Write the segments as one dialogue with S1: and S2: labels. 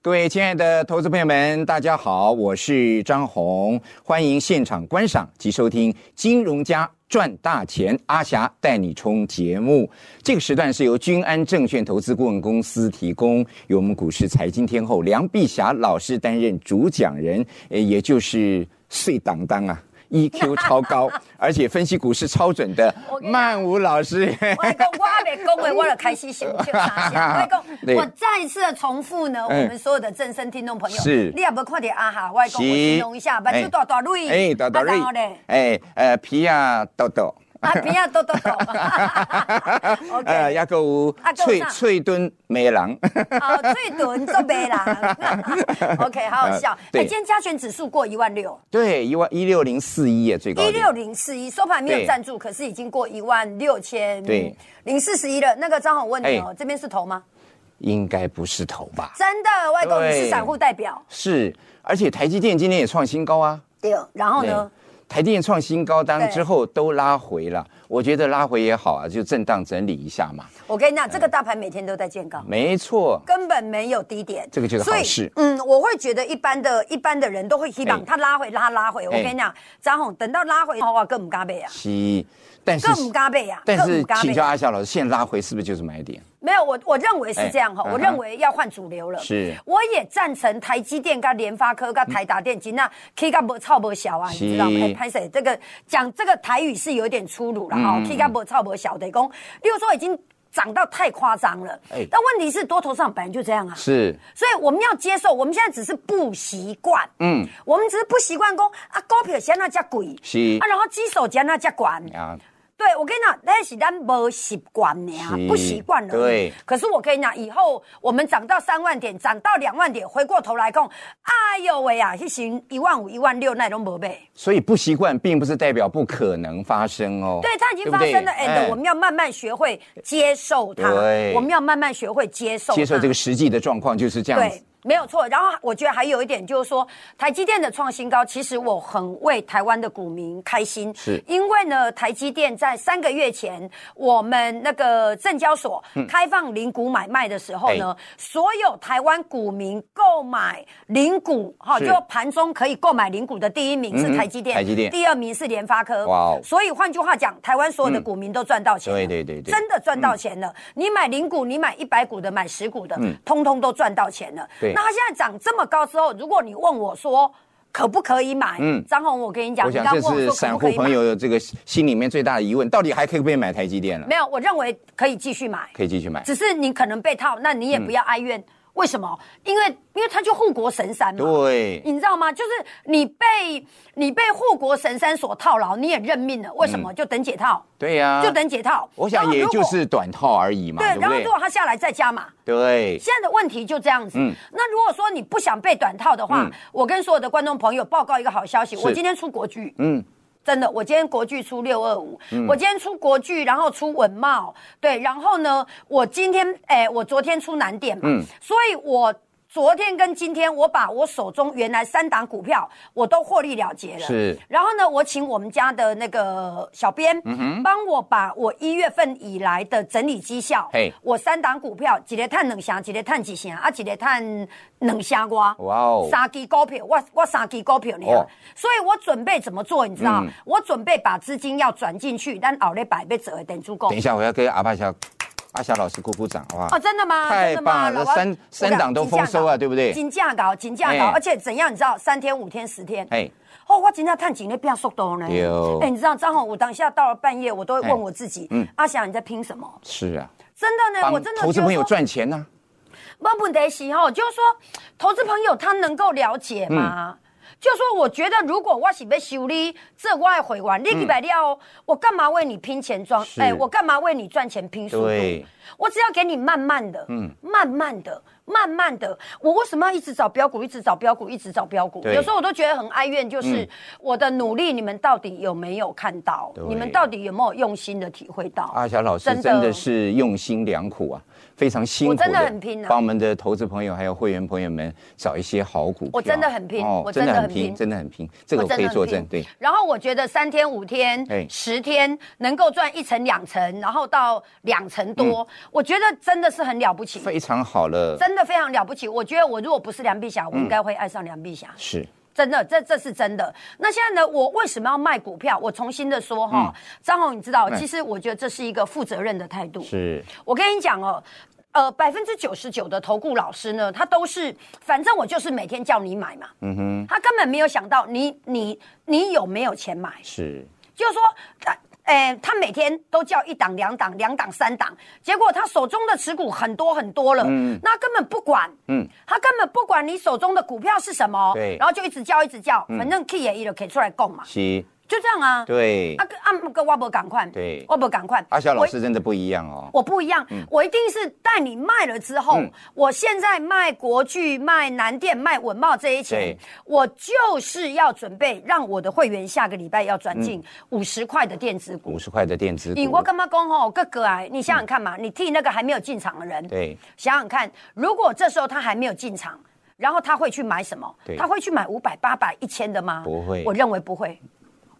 S1: 各位亲爱的投资朋友们，大家好，我是张红，欢迎现场观赏及收听《金融家赚大钱》，阿霞带你冲节目。这个时段是由君安证券投资顾问公司提供，由我们股市财经天后梁碧霞老师担任主讲人，呃，也就是碎当当啊。EQ 超高，而且分析股市超准的
S2: 我跟你讲
S1: 曼舞老师，
S2: 我跟你讲我还没讲话，我就开始想笑啥笑。我跟
S1: 对
S2: 你讲，我再次地重复呢，我
S1: 嗯
S2: 们所有的正声听众朋友，
S1: 是
S2: 你也不快点啊哈，我跟你讲我
S1: 是
S2: 形容一下，把
S1: 哎
S2: 手大大蕊，
S1: 哎，豆豆
S2: 啊
S1: 瑞
S2: 然后 嘞，，
S1: 哎，呃，皮亚豆豆，
S2: 啊边啊抖抖抖
S1: 呃，
S2: ，OK，
S1: 也个有
S2: 啊还有
S1: 翠
S2: 啥
S1: 翠墩梅郎，
S2: 好，最短做白 人，OK，好好笑。
S1: 啊对
S2: 哎，今天加权指数过一万六，
S1: 对，一万一六零四一啊，最高
S2: 一
S1: 点
S2: 六零四一，收盘没有
S1: 对
S2: 赞助，可是已经过一万六千
S1: 对
S2: 零四十一了。那个张宏问你哦
S1: 哎，
S2: 这边是头吗？
S1: 应该不是头吧？
S2: 真的，外公你
S1: 对
S2: 是散户代表，
S1: 是，而且台积电今天也创新高啊，
S2: 对，然后
S1: 对
S2: 呢？
S1: 台电创新高，当然
S2: 哦对
S1: 之后都拉回了，我觉得拉回也好啊，就震荡整理一下嘛。
S2: 我跟你
S1: 嗯
S2: 讲，这个大盘每天都在见高。
S1: 没错，
S2: 根本没有低点，
S1: 这个就是好
S2: 所以
S1: 事
S2: 嗯，我会觉得一般的、一般的人都会希
S1: 哎
S2: 望他拉回、拉拉回。我
S1: 哎
S2: 跟你讲，张宏等到拉回，哇，更唔加倍啊，
S1: 西，但是
S2: 更唔加倍啊，
S1: 但
S2: 更
S1: 是
S2: 唔加
S1: 请
S2: 倍
S1: 教
S2: 啊。
S1: 阿霞老师，现在拉回是不是就是买点？
S2: 没有，我我认为是这样哈
S1: 哎，
S2: 我
S1: 嗯哼
S2: 认为要换主流了。
S1: 是
S2: 我也赞成台积电、跟联发科、跟台达电机，那 K 跟不超不小啊，你知道吗？
S1: 是
S2: 哎潘 Sir，这个讲这个台语是有点粗鲁了哈
S1: 嗯
S2: ，K 跟不超不小的，公，例如说已经涨到太夸张了
S1: 哎。
S2: 但问题是，多头上本来就这样啊。
S1: 是
S2: 所以我们要接受，我们现在只是不习惯，
S1: 嗯
S2: 嗯，我们只是不习惯讲啊，股票先那叫贵，
S1: 是
S2: 啊，然后基手先那叫管，
S1: 啊，
S2: 对我跟你讲，那是咱没习惯呀
S1: 是，
S2: 不习惯了。
S1: 对，
S2: 可是我跟你讲，以后我们涨到三万点，涨到两万点，回过头来讲，哎呦喂啊，去行一万五、一万六那种没呗。
S1: 所以不习惯并不是代表不可能发生哦。
S2: 对，它已经
S1: 不
S2: 发
S1: 对
S2: 生了，and
S1: 哎
S2: 我们要慢慢学会接受它
S1: 对，
S2: 我们要慢慢学会接受它，
S1: 接受这个实际的状况就是这样
S2: 对
S1: 子。，
S2: 没有错。然后我觉得还有一点就是说，台积电的创新高，其实我很为台湾的股民开心，
S1: 是
S2: 因为呢，台积电在三个月前，我们那个证交所
S1: 嗯
S2: 开放零股买卖的时候呢，
S1: 哎
S2: 所有台湾股民购买零股，哈，
S1: 是
S2: 就盘中可以购买零股的第一名
S1: 嗯
S2: 是
S1: 哼
S2: 台积电，
S1: 台积电
S2: 第二名是联发科，
S1: 哇哦嗯
S2: 所以换句话讲，台湾所有的股民都赚到钱了，
S1: 对对对对
S2: 真的赚
S1: 嗯
S2: 到钱了。你买零股，你买一百股的，买十股的，通通都赚到钱了。
S1: 对
S2: 那它现在涨这么高之后，如果你问我说可不可以买，
S1: 嗯
S2: 张红，我跟你讲，
S1: 我
S2: 你
S1: 想
S2: 刚刚
S1: 这
S2: 问我
S1: 是
S2: 说可
S1: 散
S2: 不可
S1: 户
S2: 以买
S1: 朋友的这个心里面最大的疑问，到底还可以不可以买台积电了？
S2: 没有，我认为可以继续买，
S1: 可以继续买。
S2: 只是你可能被套，那你也
S1: 嗯
S2: 不要哀怨。为什么？因为因为它就护国神山嘛。
S1: 对，
S2: 你知道吗？就是你被你被护国神山所套牢，你也认命了。为什么？就等解套，
S1: 对呀。
S2: 就等解套。
S1: 嗯啊我想
S2: 然后
S1: 也
S2: 如
S1: 就
S2: 果
S1: 是短套而已嘛，
S2: 对，
S1: 对不
S2: 然后
S1: 对
S2: 如？果它下来再加码，
S1: 对，
S2: 现在的问题就这样子。
S1: 嗯
S2: 那如果说你不想被短套的话，
S1: 嗯
S2: 我跟所有的观众朋友报告一个好消息，
S1: 是
S2: 我今天出国剧。
S1: 嗯，
S2: 真的，我今天国剧出六二五，我今天出国剧，然后出文茂，对，然后呢，我今天，哎、我昨天出南电嘛，
S1: 嗯
S2: 所以我昨天跟今天，我把我手中原来三档股票，我都获利了结了。
S1: 是
S2: 然后呢，我请我们家的那个小编，
S1: 嗯
S2: 帮我把我一月份以来的整理绩效
S1: 嘿，
S2: 我三档股票，一个探两成，一个探几成，啊，一个探两成瓜，
S1: 哇哦
S2: 三支股票，我我三支股票呢、
S1: 哦
S2: 所以我准备怎么做，你知道？
S1: 嗯
S2: 我准备把资金要转进去，但熬了百倍折等足够
S1: 等一。下我要跟阿爸小阿霞老师鼓鼓掌，好不好
S2: 哦，？真的吗？
S1: 太
S2: 真的吗
S1: 棒了
S2: 老
S1: 三
S2: 王我跟你
S1: 三档都丰收啊对不对
S2: 金价高，金价高，
S1: 哎
S2: 而且怎样？你知道，三天、五天、十天。
S1: 哎，
S2: 哦，我今天探景那变速度呢
S1: 对哦？
S2: 哎，你知道张宏，我当下到了半夜，我都会
S1: 哎
S2: 问我自己，
S1: 嗯
S2: 阿翔你在拼什么？
S1: 是啊，
S2: 真的哎呢，我
S1: 帮
S2: 真的
S1: 投资
S2: 觉得
S1: 朋友
S2: 说
S1: 赚钱呢，
S2: 问问得西吼，就是说投资朋友他能够了解吗？
S1: 嗯
S2: 就说我觉得，如果我是被修理，这我也会完，你几百料，哦我干嘛为你拼钱赚？
S1: 嗯是
S2: 哎、我干嘛为你赚钱拼速度
S1: 对？
S2: 我只要给你慢慢的，嗯，慢慢的，慢慢的，我为什么要一直找标股，一直找标股，一直找标股？
S1: 对嗯
S2: 有时候我都觉得很哀怨，就是、我的努力，你们到底有没有看到
S1: 对？
S2: 你们到底有没有用心的体会到？
S1: 阿霞老师
S2: 真的
S1: 真的是用心良苦啊，非常辛苦地
S2: 我真的很拼啊
S1: 帮我们的投资朋友还有会员朋友们找一些好股票。哦
S2: 我真的很拼我
S1: 真
S2: 真的
S1: 的
S2: 很
S1: 很拼，
S2: 拼
S1: 真的很拼，这个
S2: 我
S1: 我可以
S2: 真的
S1: 作
S2: 很
S1: 证。
S2: 拼
S1: 对，
S2: 然后我觉得三天、五天
S1: 哎、
S2: 十天能够赚一成、两成，然后到两成多，我觉得真的是很了不起，
S1: 嗯非常好了，嗯
S2: 真的非常了不起。我觉得我如果不是梁碧霞，我应该会爱上梁碧霞。
S1: 是
S2: 真的，这这是真的。那现在呢？我为什么要卖股票？我重新的说哈，张红，你知道，
S1: 嗯
S2: 其实我觉得这是一个负责任的态度。
S1: 是，
S2: 我跟你讲哦，呃，百分之九十九的投顾老师呢，他都是，反正我就是每天叫你买嘛，
S1: 嗯哼，
S2: 他根本没有想到你你你有没有钱买，
S1: 是
S2: 就是说他。哎、他每天都叫一档、两档、两档、三档，结果他手中的持股很多很多了，
S1: 嗯
S2: 那根本不管，
S1: 嗯
S2: 他根本不管你手中的股票是什么，
S1: 对
S2: 然后就一直叫、一直叫，反正 key 也一直可以出来供嘛，
S1: 是，
S2: 就这样啊。
S1: 对
S2: 啊，，跟啊，跟我不赶快，
S1: 对
S2: 我不赶快。
S1: 阿霞老
S2: 我
S1: 师真的不一样哦，
S2: 我不一样，我一定是带你卖了之后，
S1: 嗯
S2: 我现在卖国巨、卖南电、卖文茂这些钱
S1: 对，
S2: 我就是要准备让我的会员下个礼拜要转进五十块的嗯电子股。
S1: 五十块的电子
S2: 你
S1: 股
S2: 我，干嘛讲吼，哥哥啊，你想想看嘛，你替那个还没有进场的人，
S1: 对，
S2: 想想看，如果这时候他还没有进场，然后他会去买什么
S1: 对？
S2: 他会去买五百、八百、一千的吗？
S1: 不会
S2: 我认为不会。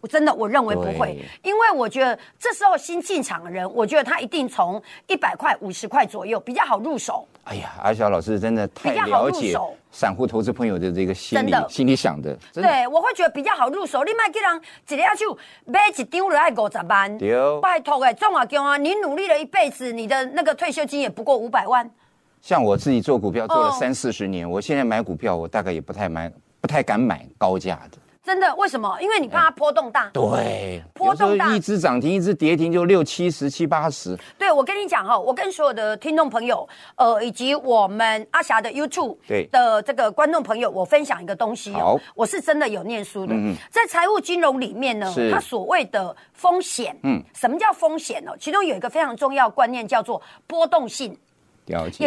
S2: 我真的，我认为不会
S1: 对，
S2: 因为我觉得这时候新进场的人，我觉得他一定从一百块、五十块左右比较好入手。
S1: 哎呀，阿霞老师真的太
S2: 比较好
S1: 了
S2: 入
S1: 解
S2: 手
S1: 散户投资朋友的这个心理
S2: 真的
S1: 心里想的，真的
S2: 对，我会觉得比较好入手。你卖给人一个手买一张就要五十万，
S1: 对哦
S2: 拜托哎，中华强啊，你努力了一辈子，你的那个退休金也不过五百万。
S1: 像我自己做股票做了
S2: 哦
S1: 三四十年，我现在买股票，我大概也不太买，不太敢买高价的。
S2: 真的，为什么？因为你怕它波动大。
S1: 对，
S2: 波动
S1: 有时
S2: 大
S1: 候一只涨停，一只跌停，就六七十、七八十。
S2: 对，我跟你讲哈、我跟所有的听众朋友，呃，以及我们阿霞的 YouTube
S1: 对
S2: 的这个观众朋友，我分享一个东西、
S1: 好
S2: 哦，我是真的有念书的，
S1: 嗯嗯
S2: 在财务金融里面呢
S1: 是，
S2: 它所谓的风险，
S1: 嗯
S2: 嗯，什么叫风险呢？其中有一个非常重要观念叫做波动性，
S1: 了解，
S2: 也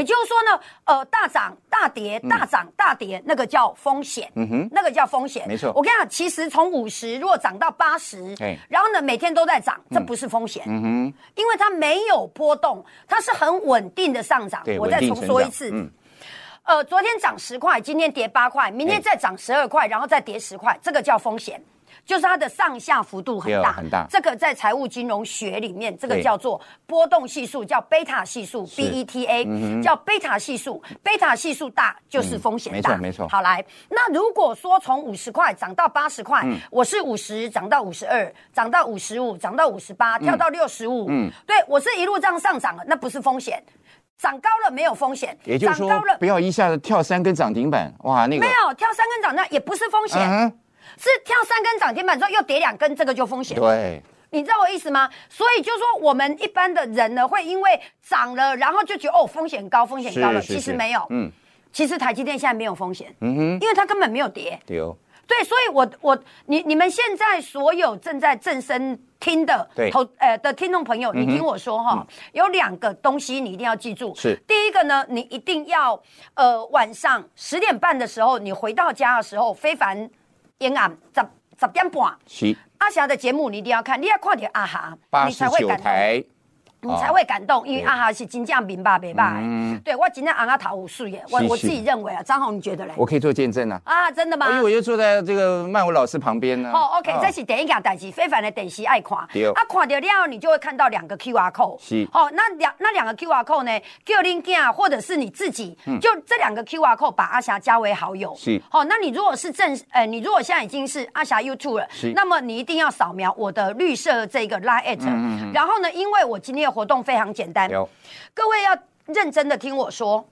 S1: 嗯
S2: 就是说呢，呃，大涨大跌，大涨大跌，那个叫风险，嗯
S1: 哼
S2: 哼，那个叫风险，
S1: 没错
S2: 我跟你讲，其实从五十如果涨到八十
S1: 哎，
S2: 然后呢每天都在涨，这不是风险，
S1: 嗯
S2: 因为它没有波动，它是很稳定的上涨
S1: 哼，对，。
S2: 我
S1: 稳
S2: 再
S1: 定
S2: 重
S1: 成
S2: 说一
S1: 长。嗯
S2: 次，，呃，昨天涨十块，今天跌八块，明天
S1: 哎
S2: 再涨十二块，然后再跌十块，这个叫风险。就是它的上下幅度很
S1: 对哦
S2: 大，
S1: 很大
S2: 这个在财务金融学里面，这个
S1: 对
S2: 叫做波动系数，叫贝塔系数 （BETA），、叫
S1: 嗯
S2: 贝塔系数。贝塔系数大就是风
S1: 没
S2: 险
S1: 错
S2: 大，
S1: 没错
S2: 好来，那如果说从五十块涨到八十块，
S1: 嗯
S2: 我是五十涨到五十二，涨到五十五，涨到五十八，跳到六十五，
S1: 嗯
S2: 对我是一路这样上涨的，那不是风险。涨高了没有风险，
S1: 也就是
S2: 涨
S1: 说
S2: 高了，
S1: 不要一下子跳三根涨停板，哇，那个
S2: 没有跳三根涨那也不是风险，
S1: 嗯哼，
S2: 是跳三根涨停板之后又跌两根，这个就风险。
S1: 对，
S2: 你知道我意思吗？所以就说我们一般的人呢，会因为涨了，然后就觉得哦风险高，风险高了，
S1: 是是
S2: 其实
S1: 是
S2: 没有。
S1: 嗯
S2: 其实台积电现在没有风险，
S1: 嗯哼，
S2: 因为它根本没有跌。
S1: 对哦，
S2: 对，所以我我你你们现在所有正在正身听的
S1: 对嗯
S2: 投呃的听众朋友，你听我说哈，有两个东西你一定要记住。
S1: 是
S2: 第一个呢，你一定要呃晚上十点半的时候，你回到家的时候，非凡阴暗十十点半，
S1: 七
S2: 阿霞的节目你一定要看，你要快点阿霞，
S1: 八
S2: 你
S1: 十
S2: 才会
S1: 九
S2: 感动。
S1: 台，哦
S2: 你才会感动，因为
S1: 对
S2: 阿哈是真正明白明白
S1: 嗯
S2: 的。对我今天阿阿桃有水耶，我
S1: 是
S2: 我
S1: 是
S2: 自己认为啊，张宏你觉得嘞？
S1: 我可以做见证啊，
S2: 啊，真的吗？
S1: 因为我就坐在这个曼舞老师旁边呢。
S2: 哦，OK，
S1: 啊
S2: 这是第一件代志，非凡的电视爱看。
S1: 对
S2: 啊，看到了你就会看到两个 QR code。
S1: 是
S2: 哦，那两那两个 QR code 呢，叫恁囝或者是你自己，就这两个 QR code 把阿霞加为好友。
S1: 嗯是
S2: 哦，那你如果是正，呃，你如果现在已经是阿霞 YouTube 了
S1: 是，嗯
S2: 那么你一定要扫描我的绿色这个 Line at。然后呢，因为我今天的活动非常简单，
S1: 有
S2: 各位要认真的听我说。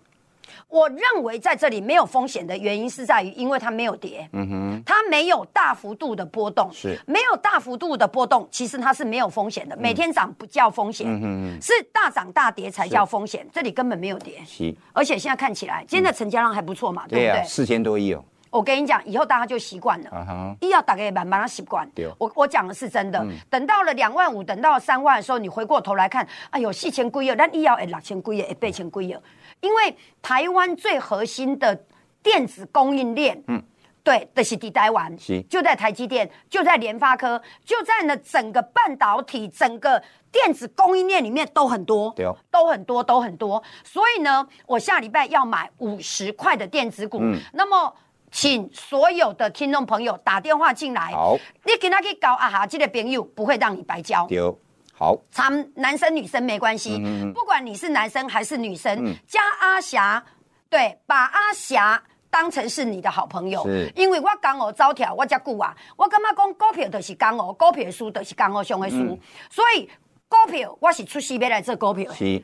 S2: 我认为在这里没有风险的原因是在于，因为它没有跌，嗯哼，它没有大幅度的波动，
S1: 是
S2: 没有大幅度的波动，其实它是没有风险的，每天涨不叫风险，嗯是大涨大跌才叫风险，这里根本没有跌，
S1: 七，
S2: 而且现在看起来今天的成交量还不错嘛，对
S1: 对
S2: 不
S1: 呀，
S2: 对？
S1: 四千多亿哦，
S2: 我跟你讲，以后大家就习惯了。
S1: 啊哈，
S2: 医药大概也慢慢习惯
S1: 对。嗯
S2: 我我讲的是真的。等到了两万五，等到三万的时候，你回过头来看，哎呦，四千贵二，但医药也六千贵二，也八千贵二，因为台湾最核心的电子供应链，嗯。对，的、就是地台湾
S1: 是，
S2: 就在台积电，就在联发科，就在呢整个半导体、整个电子供应链里面都很多，
S1: 对哦
S2: 都很多，都很多。所以呢，我下礼拜要买五十块的电子股。
S1: 嗯
S2: 那么，请所有的听众朋友打电话进来。
S1: 好
S2: 你给他去搞啊哈，这个朋友不会让你白交。
S1: 丢，好，
S2: 他
S1: 嗯
S2: 们男生女生没关系，不管你是男生还是女生，加阿霞。对，把阿霞当成是你的好朋友
S1: 是，
S2: 因为我江湖走跳，我遮久啊，我感觉讲股票就是江湖，股票的输就是江湖上的输，
S1: 嗯
S2: 所以股票我是出师要来做股票的。
S1: 是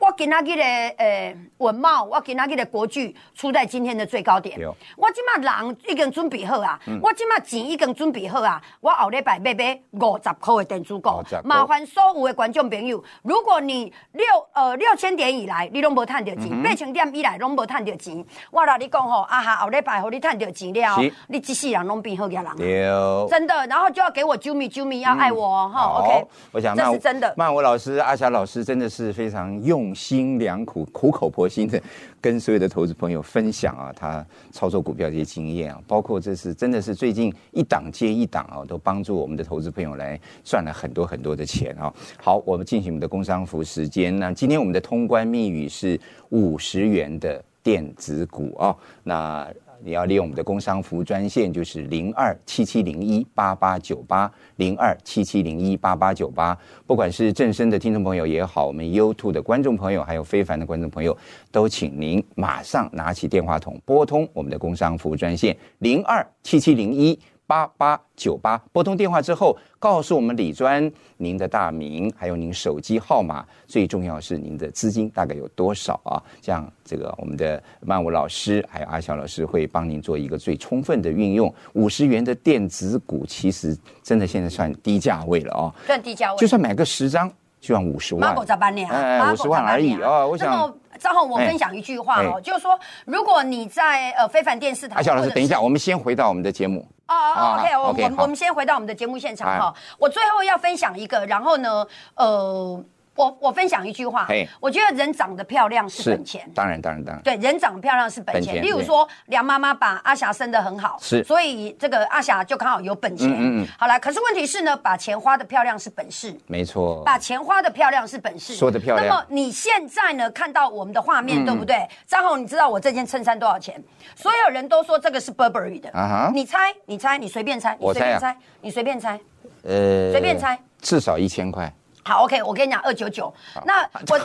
S2: 我今仔日的诶文茂，我今仔日的国剧出在今天的最高点
S1: 对。嗯
S2: 我即马人已经准备好啊，我即马钱已经准备好啊，我后礼拜要买五十块的电子股
S1: 五十块。
S2: 麻烦所有的观众朋友，如果你六呃六千点以来你拢无趁着
S1: 嗯
S2: 钱，八千点以来拢无趁着钱，我甲你讲吼，啊哈，后礼拜互你趁着钱了
S1: 是，
S2: 你一世人拢变好个人啊。
S1: 对。
S2: 真的，然后就要给我啾咪啾咪，要爱我哦
S1: 嗯
S2: 哈、
S1: 好
S2: OK，
S1: 我想
S2: 这
S1: 曼
S2: 是真的。
S1: 曼舞老师、阿霞老师真的是非常用心良苦、苦口婆心的 跟所有的投资朋友分享啊，他操作股票这些经验啊，包括这是真的是最近一档接一档啊，都帮助我们的投资朋友来赚了很多很多的钱啊。好，我们进行我们的工商服时间。那今天我们的通关密语是五十元的电子股啊，那。你要利用我们的工商服务专线，就是零二七七零一八八九八零二七七零一八八九八。不管是正声的听众朋友也好，我们 YouTube 的观众朋友，还有非凡的观众朋友，都请您马上拿起电话筒拨通我们的工商服务专线零二七七零一。八八九八，拨通电话之后，告诉我们李专您的大名，还有您手机号码，最重要是您的资金大概有多少啊？这样，这个我们的曼舞老师还有阿晓老师会帮您做一个最充分的运用。五十元的电子股，其实真的现在算低价位了啊，
S2: 算低价位
S1: 就。算买个十张，就要五十
S2: 马
S1: 万
S2: 狗。咋办呢？
S1: 哎哎
S2: 马
S1: 50
S2: 狗
S1: 万
S2: 咋办
S1: 而已
S2: 呢
S1: 哦我
S2: 那
S1: 想
S2: 么张宏，我
S1: 哎
S2: 分享一句话哦，
S1: 哎
S2: 就是说，如果你在呃非凡电视台，
S1: 阿晓老
S2: 或
S1: 师，
S2: 者
S1: 等一
S2: 是
S1: 下，我们先回到我们的节目。
S2: 哦哦
S1: 啊
S2: ，OK，我
S1: OK，
S2: 我们
S1: 好哎
S2: 我们先回到我们的节目现场哈。我最后要分享一个，然后呢，呃，我我分享一句话
S1: 嘿，
S2: 我觉得人长得漂亮是本钱。
S1: 当然，当然，当然。
S2: 对，人长得漂亮是本
S1: 本钱
S2: 钱。例如
S1: 对
S2: 说，梁妈妈把阿霞生得很好，
S1: 是
S2: 所以这个阿霞就刚好有本钱。
S1: 嗯嗯嗯
S2: 好了，可是问题是呢，把钱花的漂亮是本事。
S1: 没错，
S2: 把钱花的漂亮是本事，
S1: 说得漂亮嗯
S2: 那么你现在呢？看到我们的画面，对不对？张宏，你知道我这件衬衫多少钱？所有人都说这个是 Burberry 的，
S1: 啊哈
S2: 你猜，你猜，你随便猜，你
S1: 我
S2: 随
S1: 猜啊
S2: 便猜，你随便猜。
S1: 呃
S2: 随便猜，
S1: 至少一千块。
S2: 好，OK，我跟你讲，二九九。那我
S1: 啊真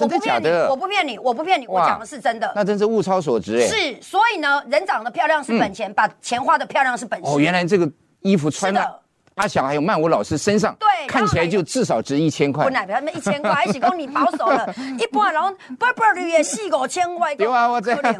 S2: 我
S1: 的
S2: 不
S1: 假
S2: 骗你
S1: 的，
S2: 我不骗你，我不骗你，我
S1: 哇
S2: 讲的是真
S1: 那
S2: 的。
S1: 真是物超所值哎。
S2: 是，所以呢，人长得漂亮是本
S1: 嗯
S2: 钱，把钱花的漂亮是本事。
S1: 哦，原来这个衣服穿
S2: 是
S1: 到
S2: 的
S1: 阿翔还有曼舞老师身上，
S2: 对然后
S1: 看起来就至少值一千块
S2: 本。来他们一千块，还是讲你保守了，一般然后 Burberry 也四五千块，
S1: 对啊我知
S2: 可怜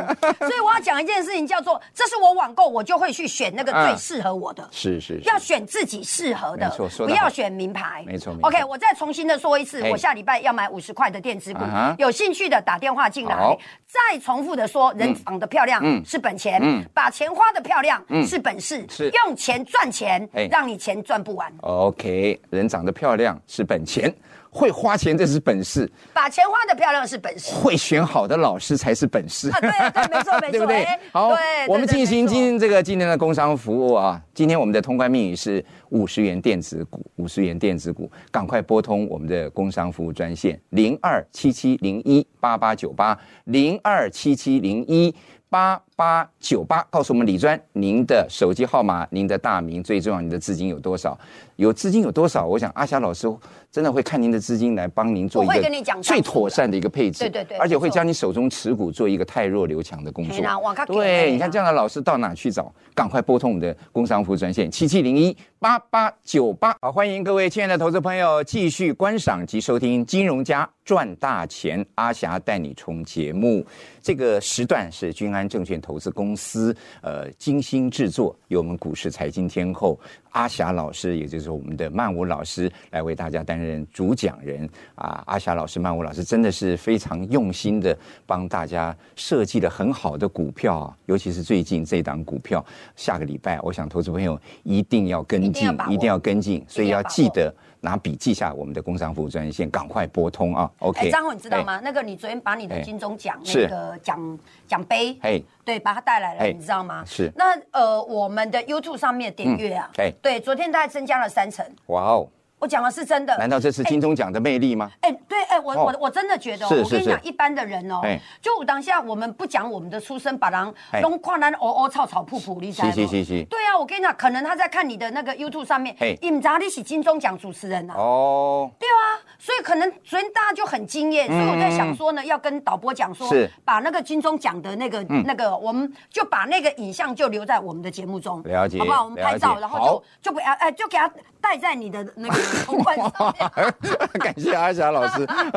S2: 所以我要讲一件事情，叫做这是我网购，我就会去选那个最适合我的。
S1: 是是是
S2: 要，选自己适合的
S1: 没错，说
S2: 不
S1: 得好
S2: 要选名牌。
S1: 没错没错
S2: OK，我再重新的说一次
S1: 嘿，
S2: 我下礼拜要买五十块的电子股
S1: 啊哈，
S2: 有兴趣的打电话进来
S1: 好。
S2: 再重复的说，人长得漂亮
S1: 嗯
S2: 是本钱
S1: 嗯，
S2: 把钱花的漂亮是本事
S1: 是，
S2: 用钱赚钱
S1: 哎，
S2: 让你钱赚不完。
S1: OK，人长得漂亮是本钱，会花钱这是本事，
S2: 把钱花的漂亮是本事。
S1: 会选好的老师才是本事。
S2: 啊，对对，没错没错，
S1: 对不对
S2: 哎？
S1: 好
S2: 对，
S1: 我们进行。
S2: 对对没错
S1: 今这个今天的工商服务啊，今天我们的通关密语是五十元电子股，五十元电子股，赶快拨通我们的工商服务专线零二七七零一八八九八零二七七零一。八八九八，告诉我们李专您的手机号码、您的大名，最重要您的资金有多少？有资金有多少？我想阿霞老师真的会看您的资金来帮您做一
S2: 我会
S1: 个
S2: 跟你讲
S1: 最
S2: 张数
S1: 妥善的一个配置，
S2: 对对对
S1: 而且
S2: 没
S1: 会
S2: 错
S1: 将你手中持股做一个汰弱留强的工作
S2: 嘿啦往较。紧的
S1: 对，
S2: 啦
S1: 你看这样的老师到哪去找？赶快拨通我们的工商服务专线七七零一八八九八。好，欢迎各位亲爱的投资朋友继续观赏及收听《金融家赚大钱》，阿霞带你冲节目。这个时段是君安证券投资公司呃精心制作，由我们股市财经天后阿霞老师，也就是我们的曼舞老师来为大家担任主讲人啊。阿霞老师、曼舞老师真的是非常用心的帮大家设计了很好的股票啊，尤其是最近这档股票，下个礼拜我想投资朋友一定要跟
S2: 一定
S1: 进
S2: 要把，握
S1: 一定要跟进，所以
S2: 一定要
S1: 要
S2: 把握
S1: 记得拿笔记下我们的工商服务专线，赶快拨通啊。
S2: 哎，
S1: OK，
S2: 张宏，你知道？吗？那个你昨天把你的
S1: 哎
S2: 金钟奖
S1: 是
S2: 那个奖奖杯，
S1: 哎，
S2: 对，把它带来了，
S1: 哎
S2: 你知道吗？
S1: 是
S2: 那呃，我们的 YouTube 上面的点阅啊
S1: 嗯哎，
S2: 对，昨天大概增加了三成。
S1: 哇哦，
S2: 我讲的是真的。
S1: 难道这是金钟奖的魅力吗？
S2: 哎、对，哎、我、
S1: 哦
S2: 我我真的觉得哦、
S1: 是
S2: 我跟
S1: 是
S2: 你
S1: 是
S2: 讲，一般的人哦、
S1: 哎
S2: 就当下我们不讲我们的出身，把人
S1: 哎
S2: 弄跨咱哦哦草草噗噗，你知道吗？
S1: 是是是是
S2: 对啊，我跟你讲，可能他在看你的那个 YouTube 上面
S1: 嗯嘿，
S2: 你们知道你是金钟奖主持人啊。
S1: 哦，
S2: 对啊，所以可能昨天大家就很惊艳，所以我在想说呢，要跟导播讲说
S1: 嗯是，嗯
S2: 把那个金钟奖的那个、那个，我们就把那个影像就留在我们的节目中，
S1: 了解
S2: 好不好？我们拍照，
S1: 了解
S2: 然
S1: 好
S2: 后就就给他哎，就给他戴在你的那个头冠上面。
S1: 感谢阿霞老 师。
S2: 真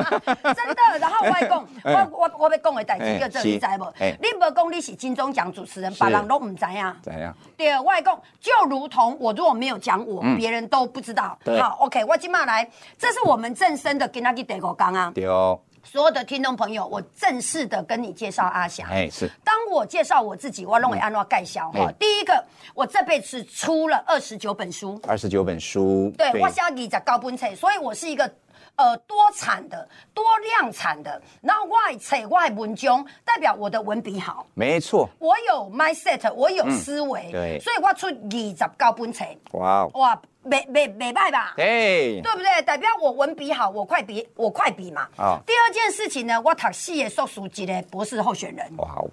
S2: 的，然后我还 讲，
S1: 哎
S2: 我我我要讲的代
S1: 哎
S2: 志叫做你
S1: 是
S2: 知无
S1: 哎？
S2: 你无讲你是金钟奖主持人，别人都唔知啊。
S1: 怎样？
S2: 对，我还讲，就如同我如果没有讲我，别人都不知道
S1: 嗯对。
S2: 好，OK，我今嘛来，这是我们正声的给那个德国刚啊，
S1: 对哦，
S2: 所有的听众朋友，我正式的跟你介绍阿霞。
S1: 哎是
S2: 当我介绍我自己，我认为安诺盖小哈
S1: 哎，
S2: 第一个，我这辈子出了二十九本书。
S1: 二十九本书，
S2: 对，我是要二十高本册，所以我是一个呃多产的、多量产的。然后外册外文章，代表我的文笔好，
S1: 没错，
S2: 我有 mindset，我有思维，
S1: 嗯对
S2: 所以我出二十高本册，
S1: 哇哦，
S2: 哇，没没没败吧？
S1: 哎，
S2: 对不对？代表我文笔好，我快笔，我快笔嘛。
S1: 啊
S2: 第二件事情呢，我读四个硕士级的博士候选人。
S1: 哇哦，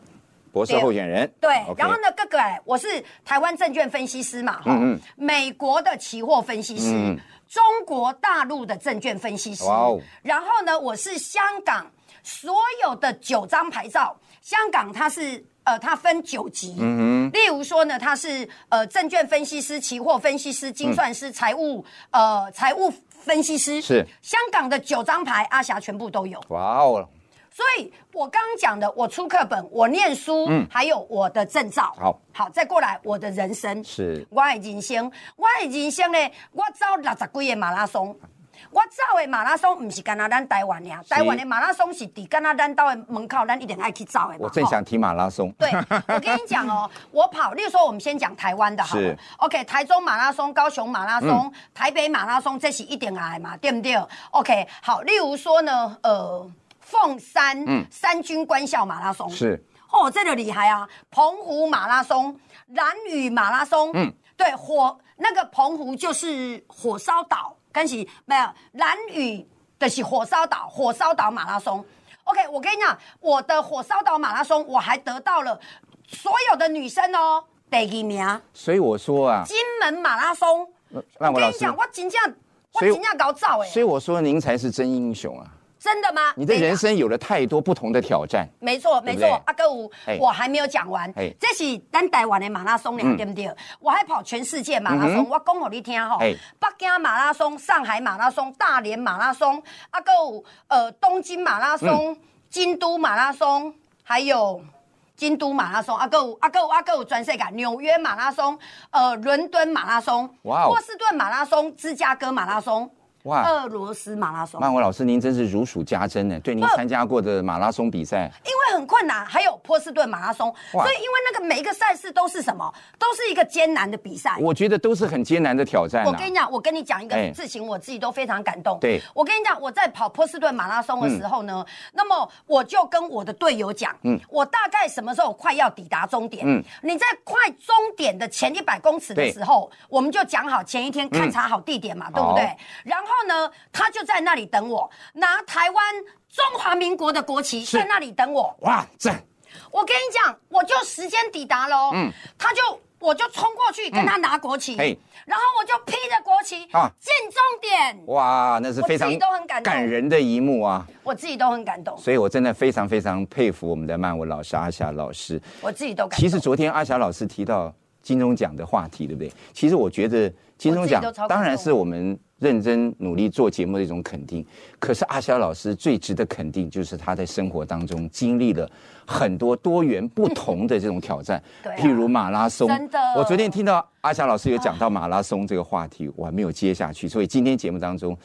S1: 博士候选人，
S2: 对
S1: OK
S2: 然后？呢，哥哥，我是台湾证券分析师嘛，哈、
S1: 嗯嗯
S2: 美国的期货分析师，
S1: 嗯
S2: 中国大陆的证券分析师，
S1: 哇哦
S2: 然后呢，我是香港所有的九张牌照，香港它是。呃，它分九级，嗯、例如说呢，它是呃证券分析师、期货分析师、精算师、财务呃财务分析师，
S1: 是
S2: 香港的九张牌，阿霞全部都有。
S1: 哇哦，
S2: 所以我刚刚讲的，我出课本，我念书，还有我的证照，
S1: 嗯好，
S2: 好，再过来我的人生，
S1: 是
S2: 我的人生，我的人生呢，我走六十几个马拉松。我走的马拉松，不是干那咱台湾的，台湾的马拉松是伫干那咱到的门口，咱一定爱去走的嘛。
S1: 我正
S2: 吼
S1: 想提马拉松，
S2: 对，我跟你讲哦，我跑，例如说我们先讲台湾的好
S1: 是
S2: 了，OK，台中马拉松、高雄马拉松、台北马拉松，这是一点矮嘛，对不对？OK，好，例如说呢，呃，凤山、三军官校马拉松
S1: 是
S2: 哦，这个厉害啊，澎湖马拉松、蓝屿马拉松，嗯，对，火那个澎湖就是火烧岛，跟是没有蓝屿的是火烧岛，火烧岛马拉松。OK，我跟你讲，我的火烧岛马拉松，我还得到了所有的女生哦第一名，
S1: 所以我说啊，呃
S2: 金门马拉松。
S1: 让我
S2: 跟
S1: 老
S2: 你
S1: 师
S2: 讲，我真正我
S1: 所以
S2: 真正搞造哎
S1: 所，以我说您才是真英雄啊！
S2: 真的吗？
S1: 你的
S2: 没有
S1: 人生有了太多不同的挑战，
S2: 没错，
S1: 对
S2: 没
S1: 不
S2: 错
S1: 对，
S2: 阿哥五
S1: 嘿，
S2: 我还没有讲完
S1: 嘿，
S2: 这是咱台湾的马拉松
S1: 嗯
S2: 俩，对不对？我还跑全世界马拉
S1: 嗯
S2: 松，我讲给你听吼，
S1: 嘿
S2: 北京马拉松、上海马拉松、大连马拉松，阿哥五，呃，东京马拉
S1: 嗯
S2: 松、京都马拉松，还有。京都马拉松，啊阿哥五，阿哥五，阿哥五，全世界纽约马拉松，呃，伦敦马拉松，
S1: 哇哦啊
S2: 波士顿马拉松，芝加哥马拉松，
S1: 哇
S2: 俄罗斯马拉松，
S1: 曼文老师，您真是如数家珍呢。对您
S2: 不
S1: 参加过的马拉松比赛，
S2: 因为很困难，还有波士顿马拉松，
S1: 哇
S2: 所以因为那个每一个赛事都是什么，都是一个艰难的比赛。
S1: 我觉得都是很艰难的挑战
S2: 我
S1: 啊
S2: 跟。你讲，我跟你讲一
S1: 哎
S2: 个事情，我自己都非常感动。
S1: 对
S2: 我跟你讲，我在跑波士顿马拉松的时候呢，那么我就跟我的队友讲，
S1: 嗯
S2: 我大概什么时候快要抵达终点？
S1: 嗯
S2: 你在快终点的前一百公尺的时候，我们就讲好前一天勘察好地点嘛，对不对
S1: 好？
S2: 然后呢，他就在那里等我，拿台湾中华民国的国旗
S1: 是
S2: 在那里等我。
S1: 哇，赞！
S2: 我跟你讲，我就时间抵达喽，
S1: 嗯
S2: 他就我就冲过去跟他拿国旗，
S1: 嘿
S2: 然后我就披着国旗
S1: 啊
S2: 进终点，
S1: 哇，那是非
S2: 我自
S1: 常
S2: 己都很感动啊
S1: 感人的一幕啊！
S2: 我自己都很感动，
S1: 所以我真的非常非常佩服我们的曼文老师阿霞老师。
S2: 我自己都感动。
S1: 其实昨天阿霞老师提到金钟奖的话题，对不对？其实我觉得金钟奖
S2: 我自己都超感动
S1: 当然是我们认真努力做节目的一种肯定。可是阿霞老师最值得肯定，就是她在生活当中经历了很多多元不同的这种挑战，
S2: 对啊
S1: 譬如马拉松。
S2: 真的
S1: 我昨天听到阿霞老师有讲到马拉松这个话题，我还没有接下去，所以今天节目当中。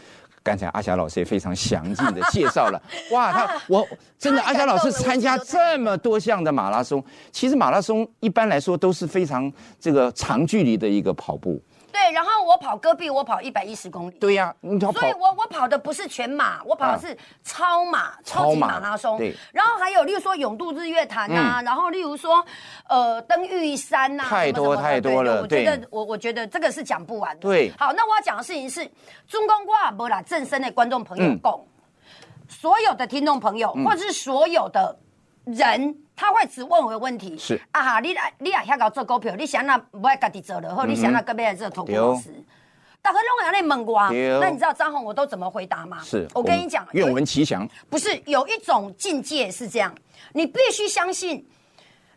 S1: 刚才阿霞老师也非常详尽的介绍 了，哇，她我真的
S2: 太
S1: 阿霞老师
S2: 感动了
S1: 参加
S2: 我自己都太
S1: 这么多项的马拉松，其实马拉松一般来说都是非常这个长距离的一个跑步。
S2: 对，然后我跑戈壁，我跑一百一十公里。
S1: 对呀、你要跑啊
S2: 所以我我跑的不是全马，我跑的是超马、超
S1: 超
S2: 级
S1: 马
S2: 马拉松。
S1: 对嗯
S2: 然后还有例如说永渡日月潭呐、然后例如说呃登玉山呐、
S1: 太多
S2: 什么什么的
S1: 太多了
S2: 对我觉
S1: 对
S2: 得我我觉得这个是讲不完的。
S1: 对
S2: 好，那我要讲的事情是，中公挂不啦正身的观众朋友
S1: 嗯
S2: 共、所有的听众朋友，或者是所有的人，他会只问我一个问题：
S1: 是
S2: 啊哈，你来你也遐搞做股票，你想那不爱家己做了，或你想那个别来做投顾
S1: 嗯对哦
S2: 老师？大家拢安尼问我啊
S1: 对，哦
S2: 那你知道张红我都怎么回答吗？
S1: 是
S2: 我跟你讲，
S1: 愿
S2: 有
S1: 闻其详。
S2: 不是有一种境界是这样，你必须相信，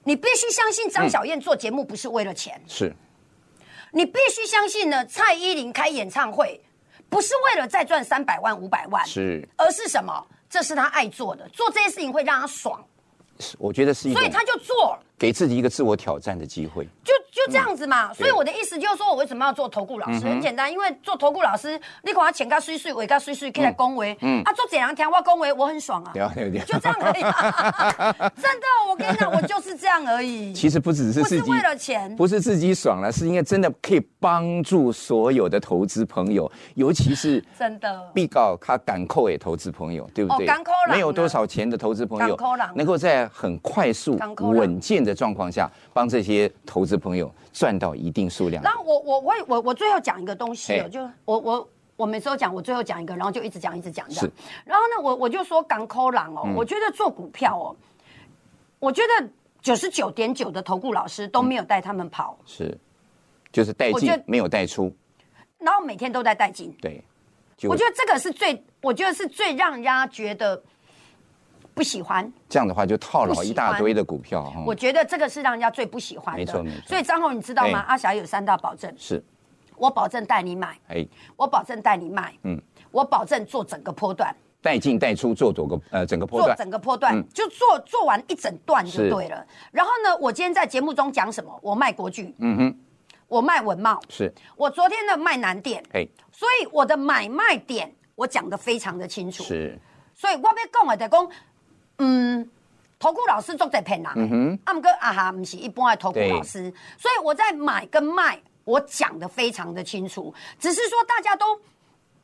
S2: 你必须相信张小燕做节目不是为了钱，
S1: 是
S2: 你必须相信呢，蔡依林开演唱会不是为了再赚三百万五百万，
S1: 是
S2: 而是什么？这是他爱做的，做这些事情会让他爽，
S1: 是，我觉得是一
S2: 所以
S1: 种
S2: 他就做了，
S1: 给自己一个自我挑战的机会。
S2: 就就这样子嘛。
S1: 嗯
S2: 所以我的意思就是说，我为什么要做投顾老师？很简单，因为做投顾老师，你管他钱噶碎碎，尾噶碎碎，可以来
S1: 嗯
S2: 恭维，啊，做怎样听我恭维，我很爽啊，
S1: 了解了解
S2: 就这样而已啊。真的，我跟你讲，我就是这样而已。
S1: 其实不只是
S2: 不是
S1: 自己
S2: 为了钱
S1: 不是自己爽了，是应该真的可以帮助所有的投资朋友，尤其是
S2: 真的
S1: 必告他敢扣也投资朋友，对不对？
S2: 哦港口人啊
S1: 没有多少钱的投资朋友
S2: 港口人，
S1: 能够在很快速
S2: 港、口人
S1: 稳健的状况下，帮这些投资朋友赚到一定数量的
S2: 然。后我我我我我最后讲一个东西哦，
S1: 嘿
S2: 就我我我每次都讲，我最后讲一个，然后就一直讲一直讲这样
S1: 是。嗯
S2: 然后呢，我我就说港口狼哦，我觉得做股票哦，我觉得九十九点九的投顾老师都没有带他们跑，
S1: 是，就是带
S2: 我
S1: 进
S2: 觉得
S1: 没有带出，
S2: 然后每天都在带进，
S1: 对，就
S2: 我觉得这个是最，我觉得是最让人家觉得不喜欢。
S1: 这样的话就套
S2: 不
S1: 牢
S2: 喜
S1: 一大
S2: 欢
S1: 堆的股票哈。
S2: 我觉得这个是让人家最不喜欢的。
S1: 没错没错
S2: 所以张宏，你知道吗？
S1: 哎
S2: 阿霞有三大保证，
S1: 是，
S2: 我保证带你买，
S1: 哎，
S2: 我保证带你卖，嗯，我保证做整个波段。
S1: 带进带出做整个呃整个波
S2: 做
S1: 段，嗯
S2: 整个波段，就做做完一整段就是对了。然后呢，我今天在节目中讲什么？我卖国剧，嗯哼，我卖文茂，
S1: 是，
S2: 我昨天呢卖南电，
S1: 哎，
S2: 所以我的买卖点我讲的非常的清楚。
S1: 是。
S2: 所以我要讲的就讲，嗯，投顾老师做在骗人
S1: 嗯
S2: 的，啊，毋过啊哈，毋是一般的投顾老师，所以我在买跟卖，我讲的非常的清楚，只是说大家都。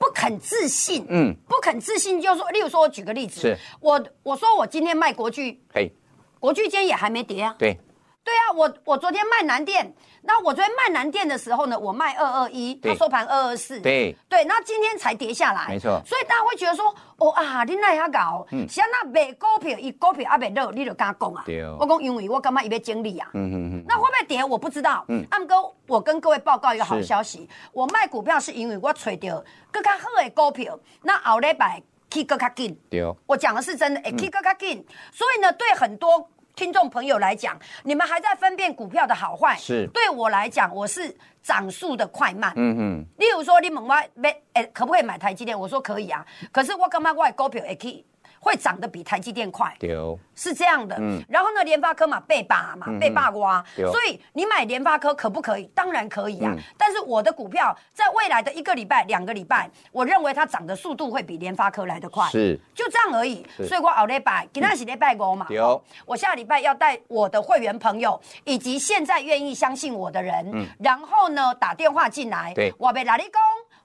S2: 不肯自信，
S1: 嗯
S2: 嗯，不肯自信，就是说，例如说，我举个例子
S1: 是，
S2: 我我说我今天卖国剧，
S1: 嘿，
S2: 国剧今天也还没跌啊，
S1: 对，
S2: 对啊，我我昨天卖南电，那我昨天卖南电的时候呢，我卖二二一，
S1: 对
S2: 它收盘二二四，
S1: 对
S2: 对，那今天才跌下来，
S1: 没错嗯
S2: 所以大家会觉得说，哦啊，你那遐搞，像那卖股票，伊股票还没落，你就敢讲啊？
S1: 对哦
S2: 我讲因为我感觉伊要整理啊，
S1: 嗯嗯嗯，
S2: 那会不会跌我不知道。嗯，按哥，我跟各位报告一个好
S1: 是
S2: 消息，我卖股票是因为我找到更加好的股票，那后礼拜去更较紧。
S1: 对哦，
S2: 我讲的是真的，哎、k 个个 king。所以呢，对很多听众朋友来讲，你们还在分辨股票的好坏。
S1: 是
S2: 对我来讲，我是涨速的快慢。
S1: 嗯嗯，
S2: 例如说，你问我买，哎、可不可以买台积电？我说可以啊。可是我干嘛我的股票会去会涨得比台积电快？
S1: 对哦，
S2: 是这样的。然后呢，联发科嘛，被霸嘛，被霸瓜，
S1: 嗯对哦嗯
S2: 所以你买联发科可不可以？当然可以啊。但是我的股票在未来的一个礼拜、两个礼拜，我认为它涨的速度会比联发科来得快。
S1: 是，
S2: 就这样而已。
S1: 是
S2: 所以我后礼拜，今天是礼拜五嘛，
S1: 对哦
S2: 我下礼拜要带我的会员朋友，以及现在愿意相信我的人，然后呢打电话进
S1: 嗯
S2: 来，
S1: 对
S2: 我要来你讲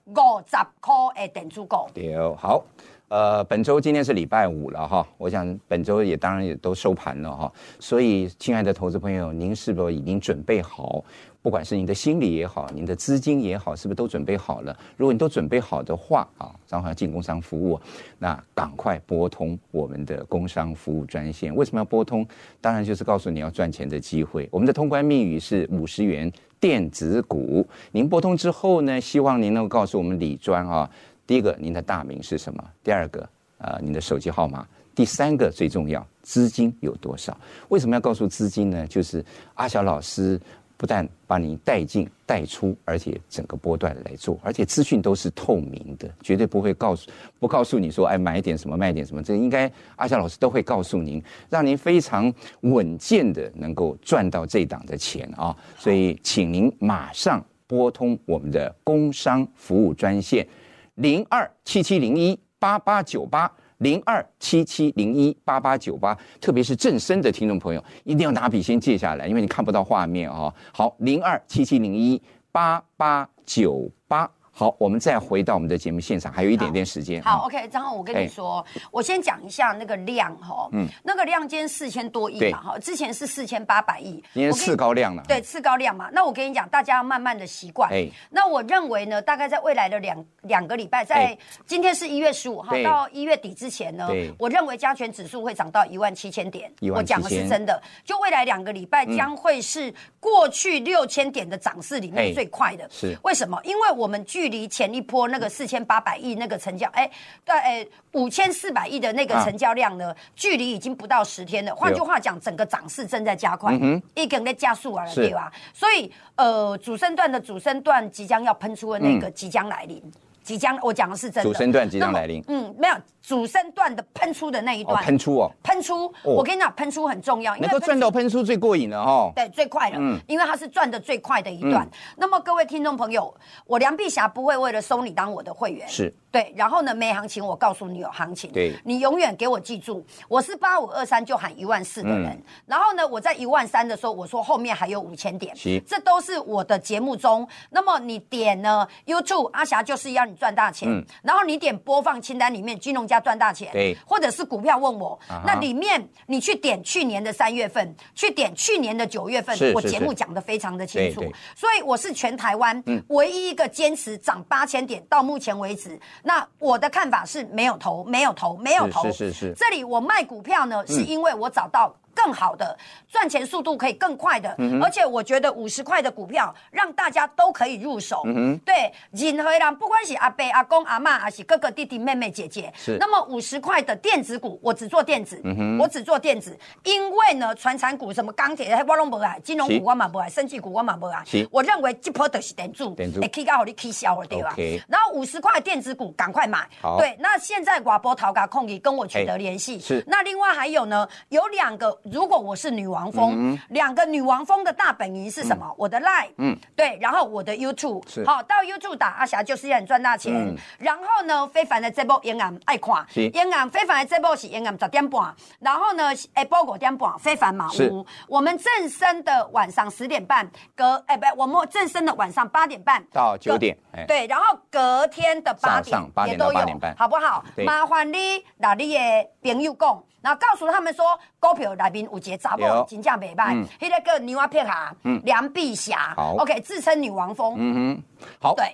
S2: 五十块的电子股。
S1: 对哦，好。呃，本周今天是礼拜五了哈，我想本周也当然也都收盘了哈，所以亲爱的投资朋友，您是否已经准备好？不管是您的心理也好，您的资金也好，是不是都准备好了？如果你都准备好的话啊，张华进工商服务，那赶快拨通我们的工商服务专线。为什么要拨通？当然就是告诉你要赚钱的机会。我们的通关密语是五十元电子股。您拨通之后呢，希望您能够告诉我们李专啊。第一个，您的大名是什么？第二个，呃，您的手机号码。第三个最重要，资金有多少？为什么要告诉资金呢？就是阿小老师不但把你带进带出，而且整个波段来做，而且资讯都是透明的，绝对不会告诉不告诉你说，哎，买点什么，卖点什么，这应该阿小老师都会告诉您，让您非常稳健的能够赚到这档的钱啊！所以，请您马上拨通我们的工商服务专线。零二七七零一八八九八零二七七零一八八九八，特别是正身的听众朋友，一定要拿笔先记下来，因为你看不到画面啊、哦。好，零二七七零一八八九八。好，我们再回到我们的节目现场，还有一点点时间。啊
S2: 好，OK，张宏，我跟你说，
S1: 哎
S2: 我先讲一下那个量哈，嗯，那个量今天四千多亿嘛哈，之前是四千八百亿，
S1: 今天次高量了。
S2: 对，次高量嘛。那我跟你讲，大家要慢慢的习惯。哎，那我认为呢，大概在未来的两两个礼拜，在今天是一月十五号到一月底之前呢，我认为加权指数会涨到一万七千嗯点。我讲的是真的，就未来两个礼拜将会是过去六千点的涨势里面最快的。
S1: 是
S2: 为什么？因为我们距距离前一波那个四千八百亿那个成交，哎，对，哎，五千四百亿的那个成交量呢，啊、距离已经不到十天了。换句话讲，整个涨势正在加快，嗯、一根在加速啊，对吧？所以，呃，主升段的主升段即将要喷出的那个即将来临。嗯即将，我讲的是真的。
S1: 主升段即将来临。
S2: 嗯，没有主升段的喷出的那一段。
S1: 喷出哦。
S2: 喷出，我跟你讲，喷出很重要，因
S1: 为赚到喷出最过瘾了哦。
S2: 对，最快了，因为它是赚的最快的一段。那么各位听众朋友，我梁碧霞不会为了收你当我的会员。
S1: 是。
S2: 对，然后呢，没行情我告诉你有行情。
S1: 对。
S2: 你永远给我记住，我是八五二三就喊一万四的
S1: 嗯
S2: 人，然后呢，我在一万三的时候我说后面还有五千点，这都是我的节目中。那么你点呢，YouTube 阿霞就是要你。赚大钱，嗯、然后你点播放清单里面金融家赚大钱，
S1: 对，
S2: 或者是股票问我，啊、那里面你去点去年的三月份，去点去年的九月份，
S1: 是是是
S2: 我节目讲的非常的清楚，所以我是全台湾
S1: 嗯
S2: 唯一一个坚持涨八千点到目前为止，嗯、那我的看法是没有投，没有投，没有投，
S1: 是是嗯是，
S2: 这里我卖股票呢，是因为我找到。更好的赚钱速度可以更快的，嗯、而且我觉得五十块的股票让大家都可以入手。嗯、对，任何人不管是阿伯、阿公、阿妈，还是哥哥、弟弟、妹妹、姐姐，那么五十块的电子股，我只做电子，嗯、我只做电子，因为呢，传产股什么钢铁，我拢不爱，金融股我嘛不爱，生技股我嘛不爱。我认为这波就是点住，会起到让你起销了，对吧？然后五十块电子股赶快买。对，那现在瓦波淘咖控也跟我取得联系。
S1: 是，
S2: 那另外还有呢，有两个。如果我是女王蜂，两个女王蜂的大本营是什么？我的 Line，嗯，对，然后我的 YouTube，好，到 YouTube 打阿霞就是让你赚大钱。然后呢，非凡的这波演案爱看，演案非凡的这波是演案十点半，然后呢，下晡五点半非凡马屋，我们正生的晚上十点半，隔哎不，我们正生的晚上八点半
S1: 到九点，哎
S2: 对，然后隔天的哎八点
S1: 也都有，
S2: 好不好？麻烦你哪里的朋友讲，然后告诉他们说股票来。有一个查某真正袂歹，迄个叫牛阿撇下，梁碧霞，OK，自称女王风。
S1: 嗯哼，好。
S2: 对，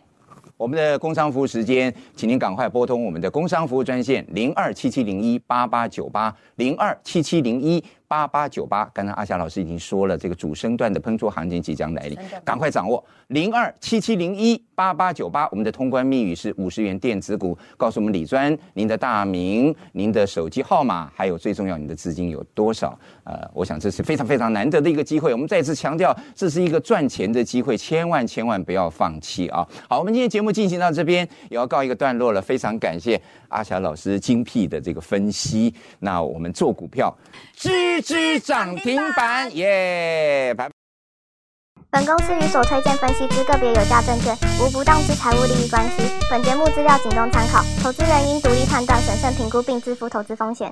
S1: 我们的工商服务时间，请您赶快拨通我们的工商服务专线零二七七零一八八九八零二七七零一八八九八。刚才阿霞老师已经说了，这个主升段的喷出行情即将来临，赶快掌握零二七七零一八八九八。我们的通关密语是五十元电子股，告诉我们李专您的大名、您的手机号码，还有最重要你的资金有多少。呃，我想这是非常非常难得的一个机会。我们再次强调，这是一个赚钱的机会，千万千万不要放弃啊！好，我们今天节目进行到这边，也要告一个段落了。非常感谢阿霞老师精辟的这个分析。那我们做股票，支支涨停板，耶！拜。
S3: 本公司与所推荐分析之个别有价证券无不当之财务利益关系。本节目资料仅供参考，投资人应独立判断、审慎评估并自负投资风险。